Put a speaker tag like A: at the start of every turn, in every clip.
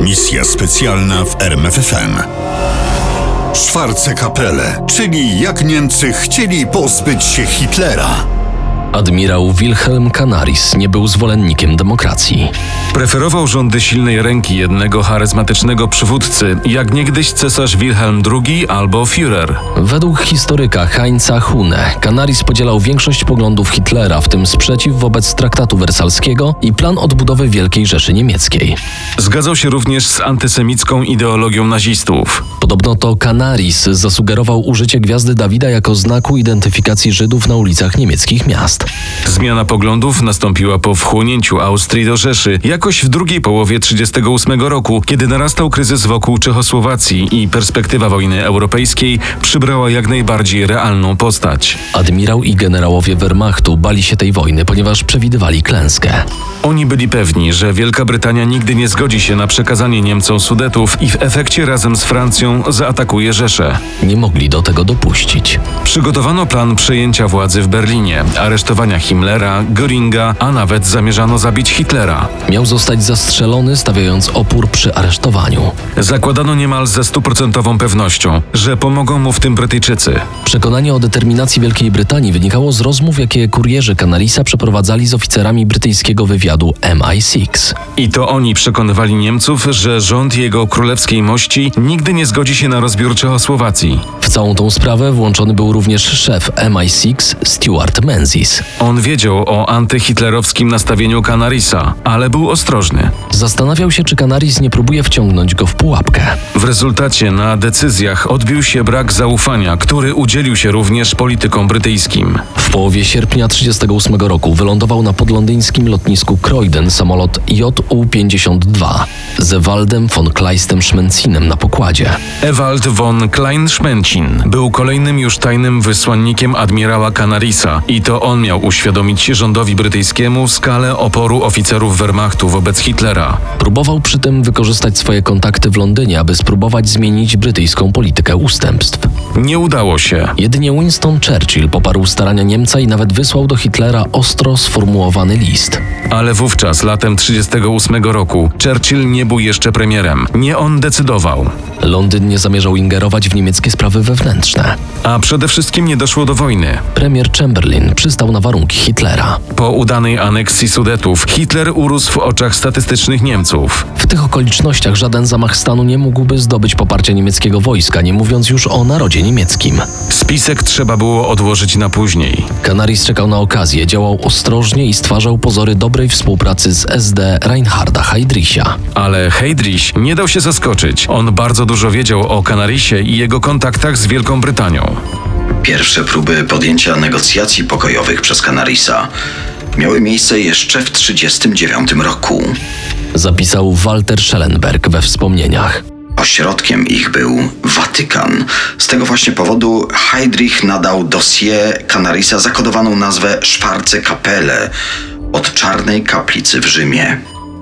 A: Misja specjalna w RMFFM. Schwarze Kapelle, czyli jak Niemcy chcieli pozbyć się Hitlera.
B: Admirał Wilhelm Canaris nie był zwolennikiem demokracji.
C: Preferował rządy silnej ręki jednego charyzmatycznego przywódcy, jak niegdyś cesarz Wilhelm II albo Führer.
B: Według historyka Heinza Hune, Canaris podzielał większość poglądów Hitlera, w tym sprzeciw wobec traktatu wersalskiego i plan odbudowy Wielkiej Rzeszy Niemieckiej.
C: Zgadzał się również z antysemicką ideologią nazistów.
B: Podobno to Canaris zasugerował użycie gwiazdy Dawida jako znaku identyfikacji Żydów na ulicach niemieckich miast.
C: Zmiana poglądów nastąpiła po wchłonięciu Austrii do Rzeszy, jakoś w drugiej połowie 1938 roku, kiedy narastał kryzys wokół Czechosłowacji i perspektywa wojny europejskiej przybrała jak najbardziej realną postać.
B: Admirał i generałowie Wehrmachtu bali się tej wojny, ponieważ przewidywali klęskę.
C: Oni byli pewni, że Wielka Brytania nigdy nie zgodzi się na przekazanie Niemcom Sudetów i w efekcie razem z Francją zaatakuje Rzeszę.
B: Nie mogli do tego dopuścić.
C: Przygotowano plan przejęcia władzy w Berlinie, aresztowania Himmlera, Göringa, a nawet zamierzano zabić Hitlera.
B: Miał zostać zastrzelony, stawiając opór przy aresztowaniu.
C: Zakładano niemal ze stuprocentową pewnością, że pomogą mu w tym Brytyjczycy.
B: Przekonanie o determinacji Wielkiej Brytanii wynikało z rozmów, jakie kurierzy Canarisa przeprowadzali z oficerami brytyjskiego wywiadu MI6.
C: I to oni przekonywali Niemców, że rząd jego królewskiej mości nigdy nie zgodzi się na rozbiór Czechosłowacji.
B: W całą tą sprawę włączony był również szef MI6 Stuart Menzies.
C: On wiedział o antyhitlerowskim nastawieniu Canarisa, ale był ostrożny.
B: Zastanawiał się, czy Canaris nie próbuje wciągnąć go w pułapkę.
C: W rezultacie na decyzjach odbił się brak zaufania, który udzielił się również politykom brytyjskim.
B: W połowie sierpnia 1938 roku wylądował na podlondyńskim lotnisku Croydon samolot JU-52 z Waldem von Kleistem Szmencinem na pokładzie.
C: Ewald von Kleinschmęcin był kolejnym już tajnym wysłannikiem admirała Canarisa i to on miał uświadomić rządowi brytyjskiemu skalę oporu oficerów Wehrmachtu wobec Hitlera.
B: Próbował przy tym wykorzystać swoje kontakty w Londynie, aby spróbować zmienić brytyjską politykę ustępstw.
C: Nie udało się.
B: Jedynie Winston Churchill poparł starania Niemca i nawet wysłał do Hitlera ostro sformułowany list.
C: Ale wówczas, latem 1938 roku, Churchill nie był jeszcze premierem. Nie on decydował.
B: Londyn nie zamierzał ingerować w niemieckie sprawy wewnętrzne.
C: A przede wszystkim nie doszło do wojny.
B: Premier Chamberlain przystał na warunki Hitlera.
C: Po udanej aneksji Sudetów, Hitler urósł w oczach statystycznych Niemców.
B: W tych okolicznościach żaden zamach stanu nie mógłby zdobyć poparcia niemieckiego wojska, nie mówiąc już o narodzie niemieckim.
C: Spisek trzeba było odłożyć na później.
B: Canaris czekał na okazję, działał ostrożnie i stwarzał pozory dobrej współpracy z SD Reinharda Heydricha.
C: Ale Heydrich nie dał się zaskoczyć. On bardzo dużo wiedział o Kanarisie i jego kontaktach z Wielką Brytanią.
D: Pierwsze próby podjęcia negocjacji pokojowych przez Canarisa miały miejsce jeszcze w 1939 roku.
B: Zapisał Walter Schellenberg we wspomnieniach.
D: Ośrodkiem ich był Watykan. Z tego właśnie powodu Heydrich nadał dossier Canarisa zakodowaną nazwę Schwarze Kapelle od Czarnej Kaplicy w Rzymie.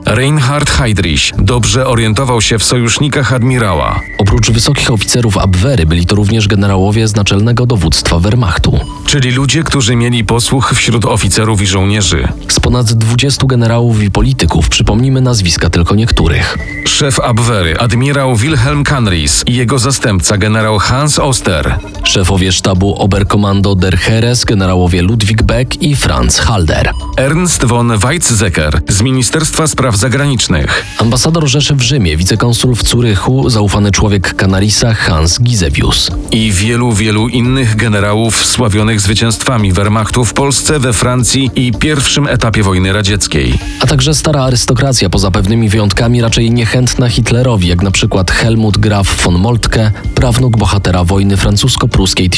C: Reinhard Heydrich dobrze orientował się w sojusznikach admirała.
B: Oprócz wysokich oficerów Abwehry byli to również generałowie z naczelnego dowództwa Wehrmachtu.
C: Czyli ludzie, którzy mieli posłuch wśród oficerów i żołnierzy.
B: Z ponad 20 generałów i polityków przypomnimy nazwiska tylko niektórych.
C: Szef Abwehry, admirał Wilhelm Canris i jego zastępca generał Hans Oster.
B: Szefowie sztabu Oberkommando der Heeres generałowie Ludwig Beck i Franz Halder.
C: Ernst von Weizsäcker z Ministerstwa Spraw Zagranicznych.
B: Ambasador Rzeszy w Rzymie, wicekonsul w Curychu, zaufany człowiek Canarisa Hans Gisevius.
C: I wielu, wielu innych generałów sławionych zwycięstwami Wehrmachtu w Polsce, we Francji i pierwszym etapie wojny radzieckiej.
B: A także stara arystokracja, poza pewnymi wyjątkami raczej niechętna Hitlerowi, jak na przykład Helmut Graf von Moltke, prawnuk bohatera wojny francusko-pruskiej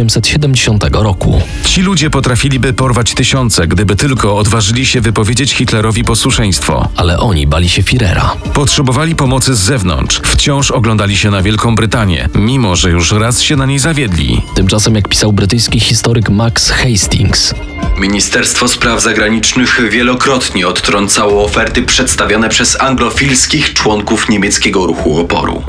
B: 1870 roku.
C: Ci ludzie potrafiliby porwać tysiące, gdyby tylko odważyli się wypowiedzieć Hitlerowi posłuszeństwo.
B: Ale oni bali się Firera.
C: Potrzebowali pomocy z zewnątrz, wciąż oglądali się na Wielką Brytanię, mimo że już raz się na niej zawiedli.
B: Tymczasem, jak pisał brytyjski historyk Max Hastings,
E: Ministerstwo Spraw Zagranicznych wielokrotnie odtrącało oferty przedstawione przez anglofilskich członków niemieckiego ruchu oporu.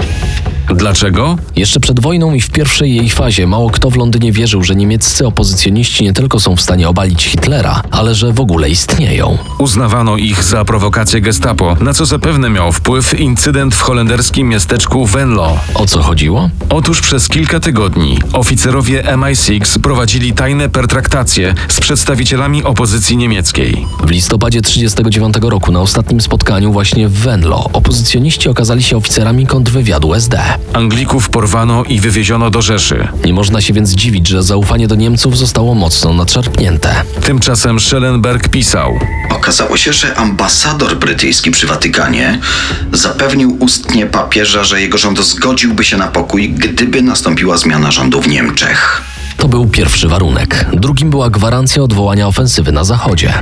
C: Dlaczego?
B: Jeszcze przed wojną i w pierwszej jej fazie mało kto w Londynie wierzył, że niemieccy opozycjoniści nie tylko są w stanie obalić Hitlera, ale że w ogóle istnieją.
C: Uznawano ich za prowokację gestapo, na co zapewne miał wpływ incydent w holenderskim miasteczku Venlo.
B: O co chodziło?
C: Otóż przez kilka tygodni oficerowie MI6 prowadzili tajne pertraktacje z przedstawicielami opozycji niemieckiej.
B: W listopadzie 1939 roku na ostatnim spotkaniu właśnie w Venlo opozycjoniści okazali się oficerami kontrwywiadu SD.
C: Anglików porwano i wywieziono do Rzeszy.
B: Nie można się więc dziwić, że zaufanie do Niemców zostało mocno nadszarpnięte.
C: Tymczasem Schellenberg pisał:
D: Okazało się, że ambasador brytyjski przy Watykanie zapewnił ustnie papieża, że jego rząd zgodziłby się na pokój, gdyby nastąpiła zmiana rządu w Niemczech.
B: To był pierwszy warunek. Drugim była gwarancja odwołania ofensywy na zachodzie.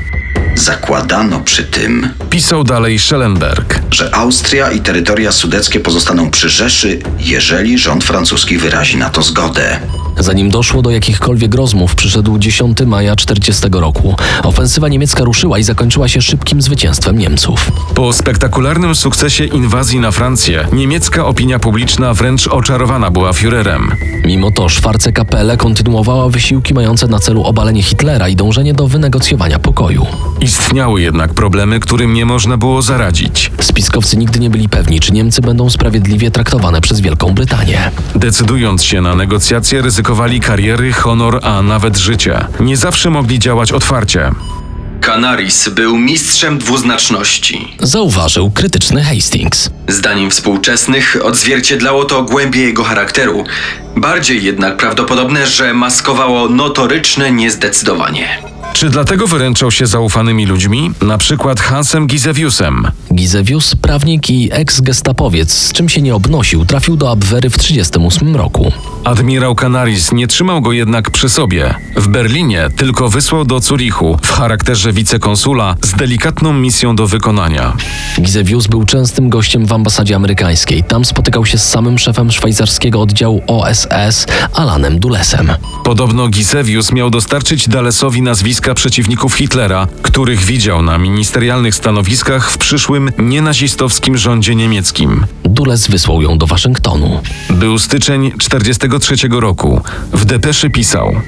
D: Zakładano przy tym,
C: Pisał dalej Schellenberg.
D: że Austria i terytoria sudeckie pozostaną przy Rzeszy, jeżeli rząd francuski wyrazi na to zgodę.
B: Zanim doszło do jakichkolwiek rozmów, przyszedł 10 maja 40 roku. Ofensywa niemiecka ruszyła i zakończyła się szybkim zwycięstwem Niemców.
C: Po spektakularnym sukcesie inwazji na Francję, niemiecka opinia publiczna wręcz oczarowana była Führerem.
B: Mimo to Schwarzkapelle kontynuowała wysiłki mające na celu obalenie Hitlera i dążenie do wynegocjowania pokoju.
C: Istniały jednak problemy, którym nie można było zaradzić.
B: Spiskowcy nigdy nie byli pewni, czy Niemcy będą sprawiedliwie traktowane przez Wielką Brytanię.
C: Decydując się na negocjacje, ryzykowali kariery, honor, a nawet życie. Nie zawsze mogli działać otwarcie.
E: Canaris był mistrzem dwuznaczności.
B: Zauważył krytyczny Hastings.
E: Zdaniem współczesnych odzwierciedlało to głębie jego charakteru. Bardziej jednak prawdopodobne, że maskowało notoryczne niezdecydowanie.
C: Czy dlatego wyręczał się zaufanymi ludźmi, na przykład Hansem Gizewiusem?
B: Gizewius, prawnik i eks-gestapowiec, z czym się nie obnosił, trafił do Abwery w 1938 roku.
C: Admirał Canaris nie trzymał go jednak przy sobie. W Berlinie tylko wysłał do Curichu w charakterze wicekonsula z delikatną misją do wykonania.
B: Gizewius był częstym gościem w ambasadzie amerykańskiej. Tam spotykał się z samym szefem szwajcarskiego oddziału OSS, Alanem Dulesem.
C: Podobno Gisevius miał dostarczyć Dalesowi nazwiska przeciwników Hitlera, których widział na ministerialnych stanowiskach w przyszłym nienazistowskim rządzie niemieckim.
B: Dules wysłał ją do Waszyngtonu.
C: Był styczeń 1943 roku. W depeszy pisał: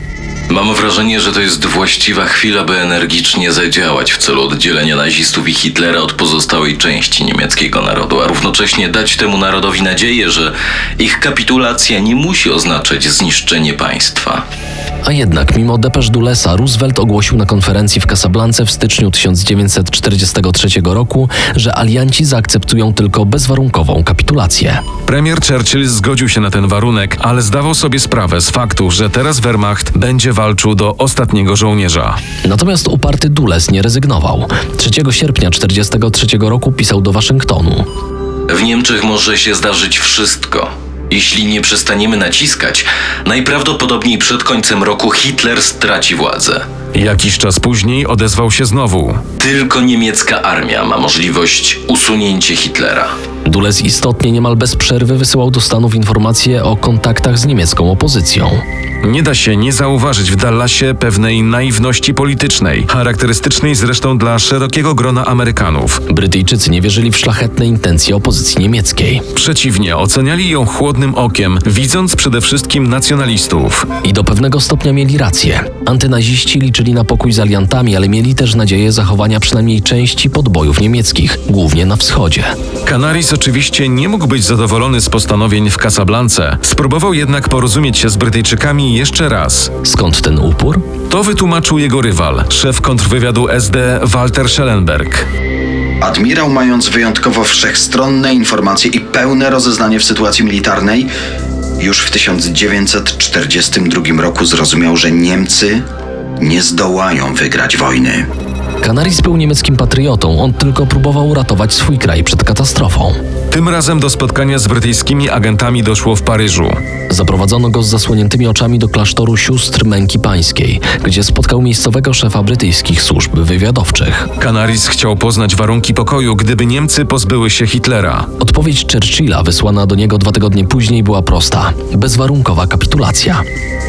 F: Mam wrażenie, że to jest właściwa chwila, by energicznie zadziałać w celu oddzielenia nazistów i Hitlera od pozostałej części niemieckiego narodu, a równocześnie dać temu narodowi nadzieję, że ich kapitulacja nie musi oznaczać zniszczenie państwa.
B: A jednak, mimo depesz Dulesa, Roosevelt ogłosił na konferencji w Casablance w styczniu 1943 roku, że alianci zaakceptują tylko bezwarunkową kapitulację.
C: Premier Churchill zgodził się na ten warunek, ale zdawał sobie sprawę z faktu, że teraz Wehrmacht będzie walczył do ostatniego żołnierza.
B: Natomiast uparty Dules nie rezygnował. 3 sierpnia 1943 roku pisał do Waszyngtonu.
F: W Niemczech może się zdarzyć wszystko. Jeśli nie przestaniemy naciskać, najprawdopodobniej przed końcem roku Hitler straci władzę.
C: Jakiś czas później odezwał się znowu.
F: Tylko niemiecka armia ma możliwość usunięcia Hitlera.
B: Dulles istotnie niemal bez przerwy wysyłał do Stanów informacje o kontaktach z niemiecką opozycją.
C: Nie da się nie zauważyć w Dallasie pewnej naiwności politycznej, charakterystycznej zresztą dla szerokiego grona Amerykanów.
B: Brytyjczycy nie wierzyli w szlachetne intencje opozycji niemieckiej.
C: Przeciwnie, oceniali ją chłodnym okiem, widząc przede wszystkim nacjonalistów.
B: I do pewnego stopnia mieli rację. Antynaziści liczyli na pokój z aliantami, ale mieli też nadzieję zachowania przynajmniej części podbojów niemieckich, głównie na wschodzie.
C: Canaris oczywiście nie mógł być zadowolony z postanowień w Casablance, spróbował jednak porozumieć się z Brytyjczykami jeszcze raz.
B: Skąd ten upór?
C: To wytłumaczył jego rywal, szef kontrwywiadu SD Walter Schellenberg.
D: Admirał, mając wyjątkowo wszechstronne informacje i pełne rozeznanie w sytuacji militarnej, już w 1942 roku zrozumiał, że Niemcy nie zdołają wygrać wojny.
B: Canaris był niemieckim patriotą, on tylko próbował uratować swój kraj przed katastrofą.
C: Tym razem do spotkania z brytyjskimi agentami doszło w Paryżu.
B: Zaprowadzono go z zasłoniętymi oczami do klasztoru sióstr męki pańskiej, gdzie spotkał miejscowego szefa brytyjskich służb wywiadowczych.
C: Canaris chciał poznać warunki pokoju, gdyby Niemcy pozbyły się Hitlera.
B: Odpowiedź Churchilla wysłana do niego dwa tygodnie później była prosta: bezwarunkowa kapitulacja.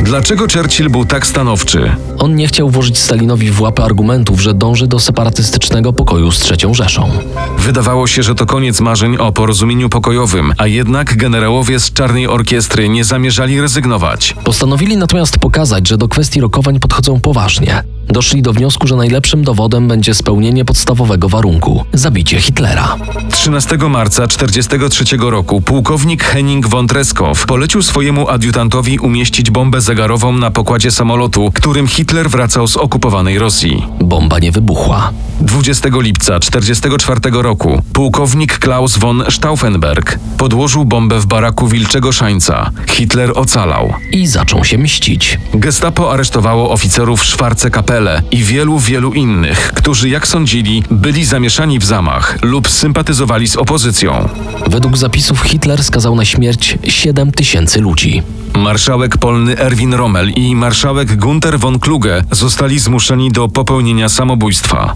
C: Dlaczego Churchill był tak stanowczy?
B: On nie chciał włożyć Stalinowi w łapę argumentów, że dąży do separatystycznego pokoju z trzecią Rzeszą.
C: Wydawało się, że to koniec marzeń o porozumieniu. porozumieniu pokojowym, a jednak generałowie z Czarnej Orkiestry nie zamierzali rezygnować.
B: Postanowili natomiast pokazać, że do kwestii rokowań podchodzą poważnie. Doszli do wniosku, że najlepszym dowodem będzie spełnienie podstawowego warunku zabicie Hitlera.
C: 13 marca 1943 roku pułkownik Henning von Treskow polecił swojemu adiutantowi umieścić bombę zegarową na pokładzie samolotu, którym Hitler wracał z okupowanej Rosji.
B: Bomba nie wybuchła.
C: 20 lipca 1944 roku pułkownik Klaus von Stauffenberg podłożył bombę w baraku Wilczego Szańca. Hitler ocalał.
B: I zaczął się mścić.
C: Gestapo aresztowało oficerów Schwarze Kapelle i wielu, wielu innych, którzy, jak sądzili, byli zamieszani w zamach lub sympatyzowali z opozycją.
B: Według zapisów Hitler skazał na śmierć 7 tysięcy ludzi.
C: Marszałek polny Erwin Rommel i marszałek Gunther von Kluge zostali zmuszeni do popełnienia samobójstwa.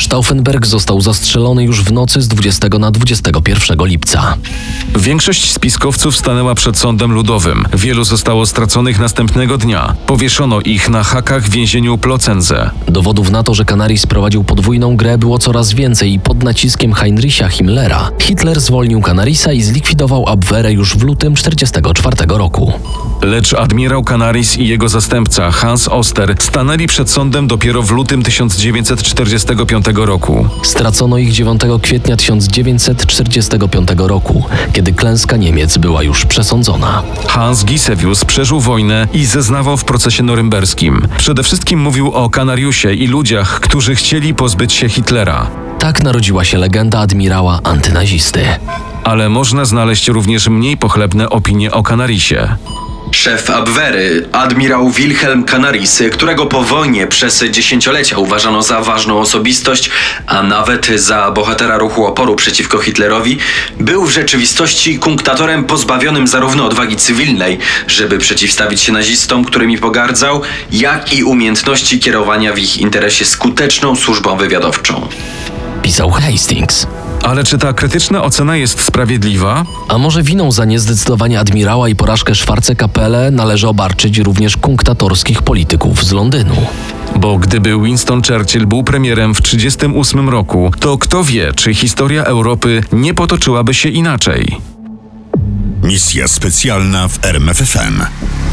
B: Stauffenberg został zastrzelony już w nocy z 20 na 21 lipca.
C: Większość spiskowców stanęła przed sądem ludowym. Wielu zostało straconych następnego dnia. Powieszono ich na hakach w więzieniu Plocenze.
B: Dowodów na to, że Kanaris prowadził podwójną grę było coraz więcej i pod naciskiem Heinricha Himmlera Hitler zwolnił Canarisa i zlikwidował Abwehrę już w lutym 1944 roku.
C: Lecz admirał Canaris i jego zastępca Hans Oster stanęli przed sądem dopiero w lutym 1945 roku.
B: Stracono ich 9 kwietnia 1945 roku, kiedy klęska Niemiec była już przesądzona.
C: Hans Gisevius przeżył wojnę i zeznawał w procesie norymberskim. Przede wszystkim mówił o Kanariusie i ludziach, którzy chcieli pozbyć się Hitlera.
B: Tak narodziła się legenda admirała antynazisty.
C: Ale można znaleźć również mniej pochlebne opinie o Kanarisie.
E: Szef Abwehry, admirał Wilhelm Canaris, którego po wojnie przez dziesięciolecia uważano za ważną osobistość, a nawet za bohatera ruchu oporu przeciwko Hitlerowi, był w rzeczywistości kunktatorem pozbawionym zarówno odwagi cywilnej, żeby przeciwstawić się nazistom, którymi pogardzał, jak i umiejętności kierowania w ich interesie skuteczną służbą wywiadowczą.
B: Pisał Hastings.
C: Ale czy ta krytyczna ocena jest sprawiedliwa?
B: A może winą za niezdecydowanie admirała i porażkę Szwarce Kapelle należy obarczyć również kunktatorskich polityków z Londynu.
C: Bo gdyby Winston Churchill był premierem w 1938 roku, to kto wie, czy historia Europy nie potoczyłaby się inaczej.
A: Misja specjalna w RMFFM.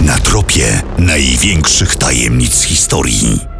A: Na tropie największych tajemnic historii.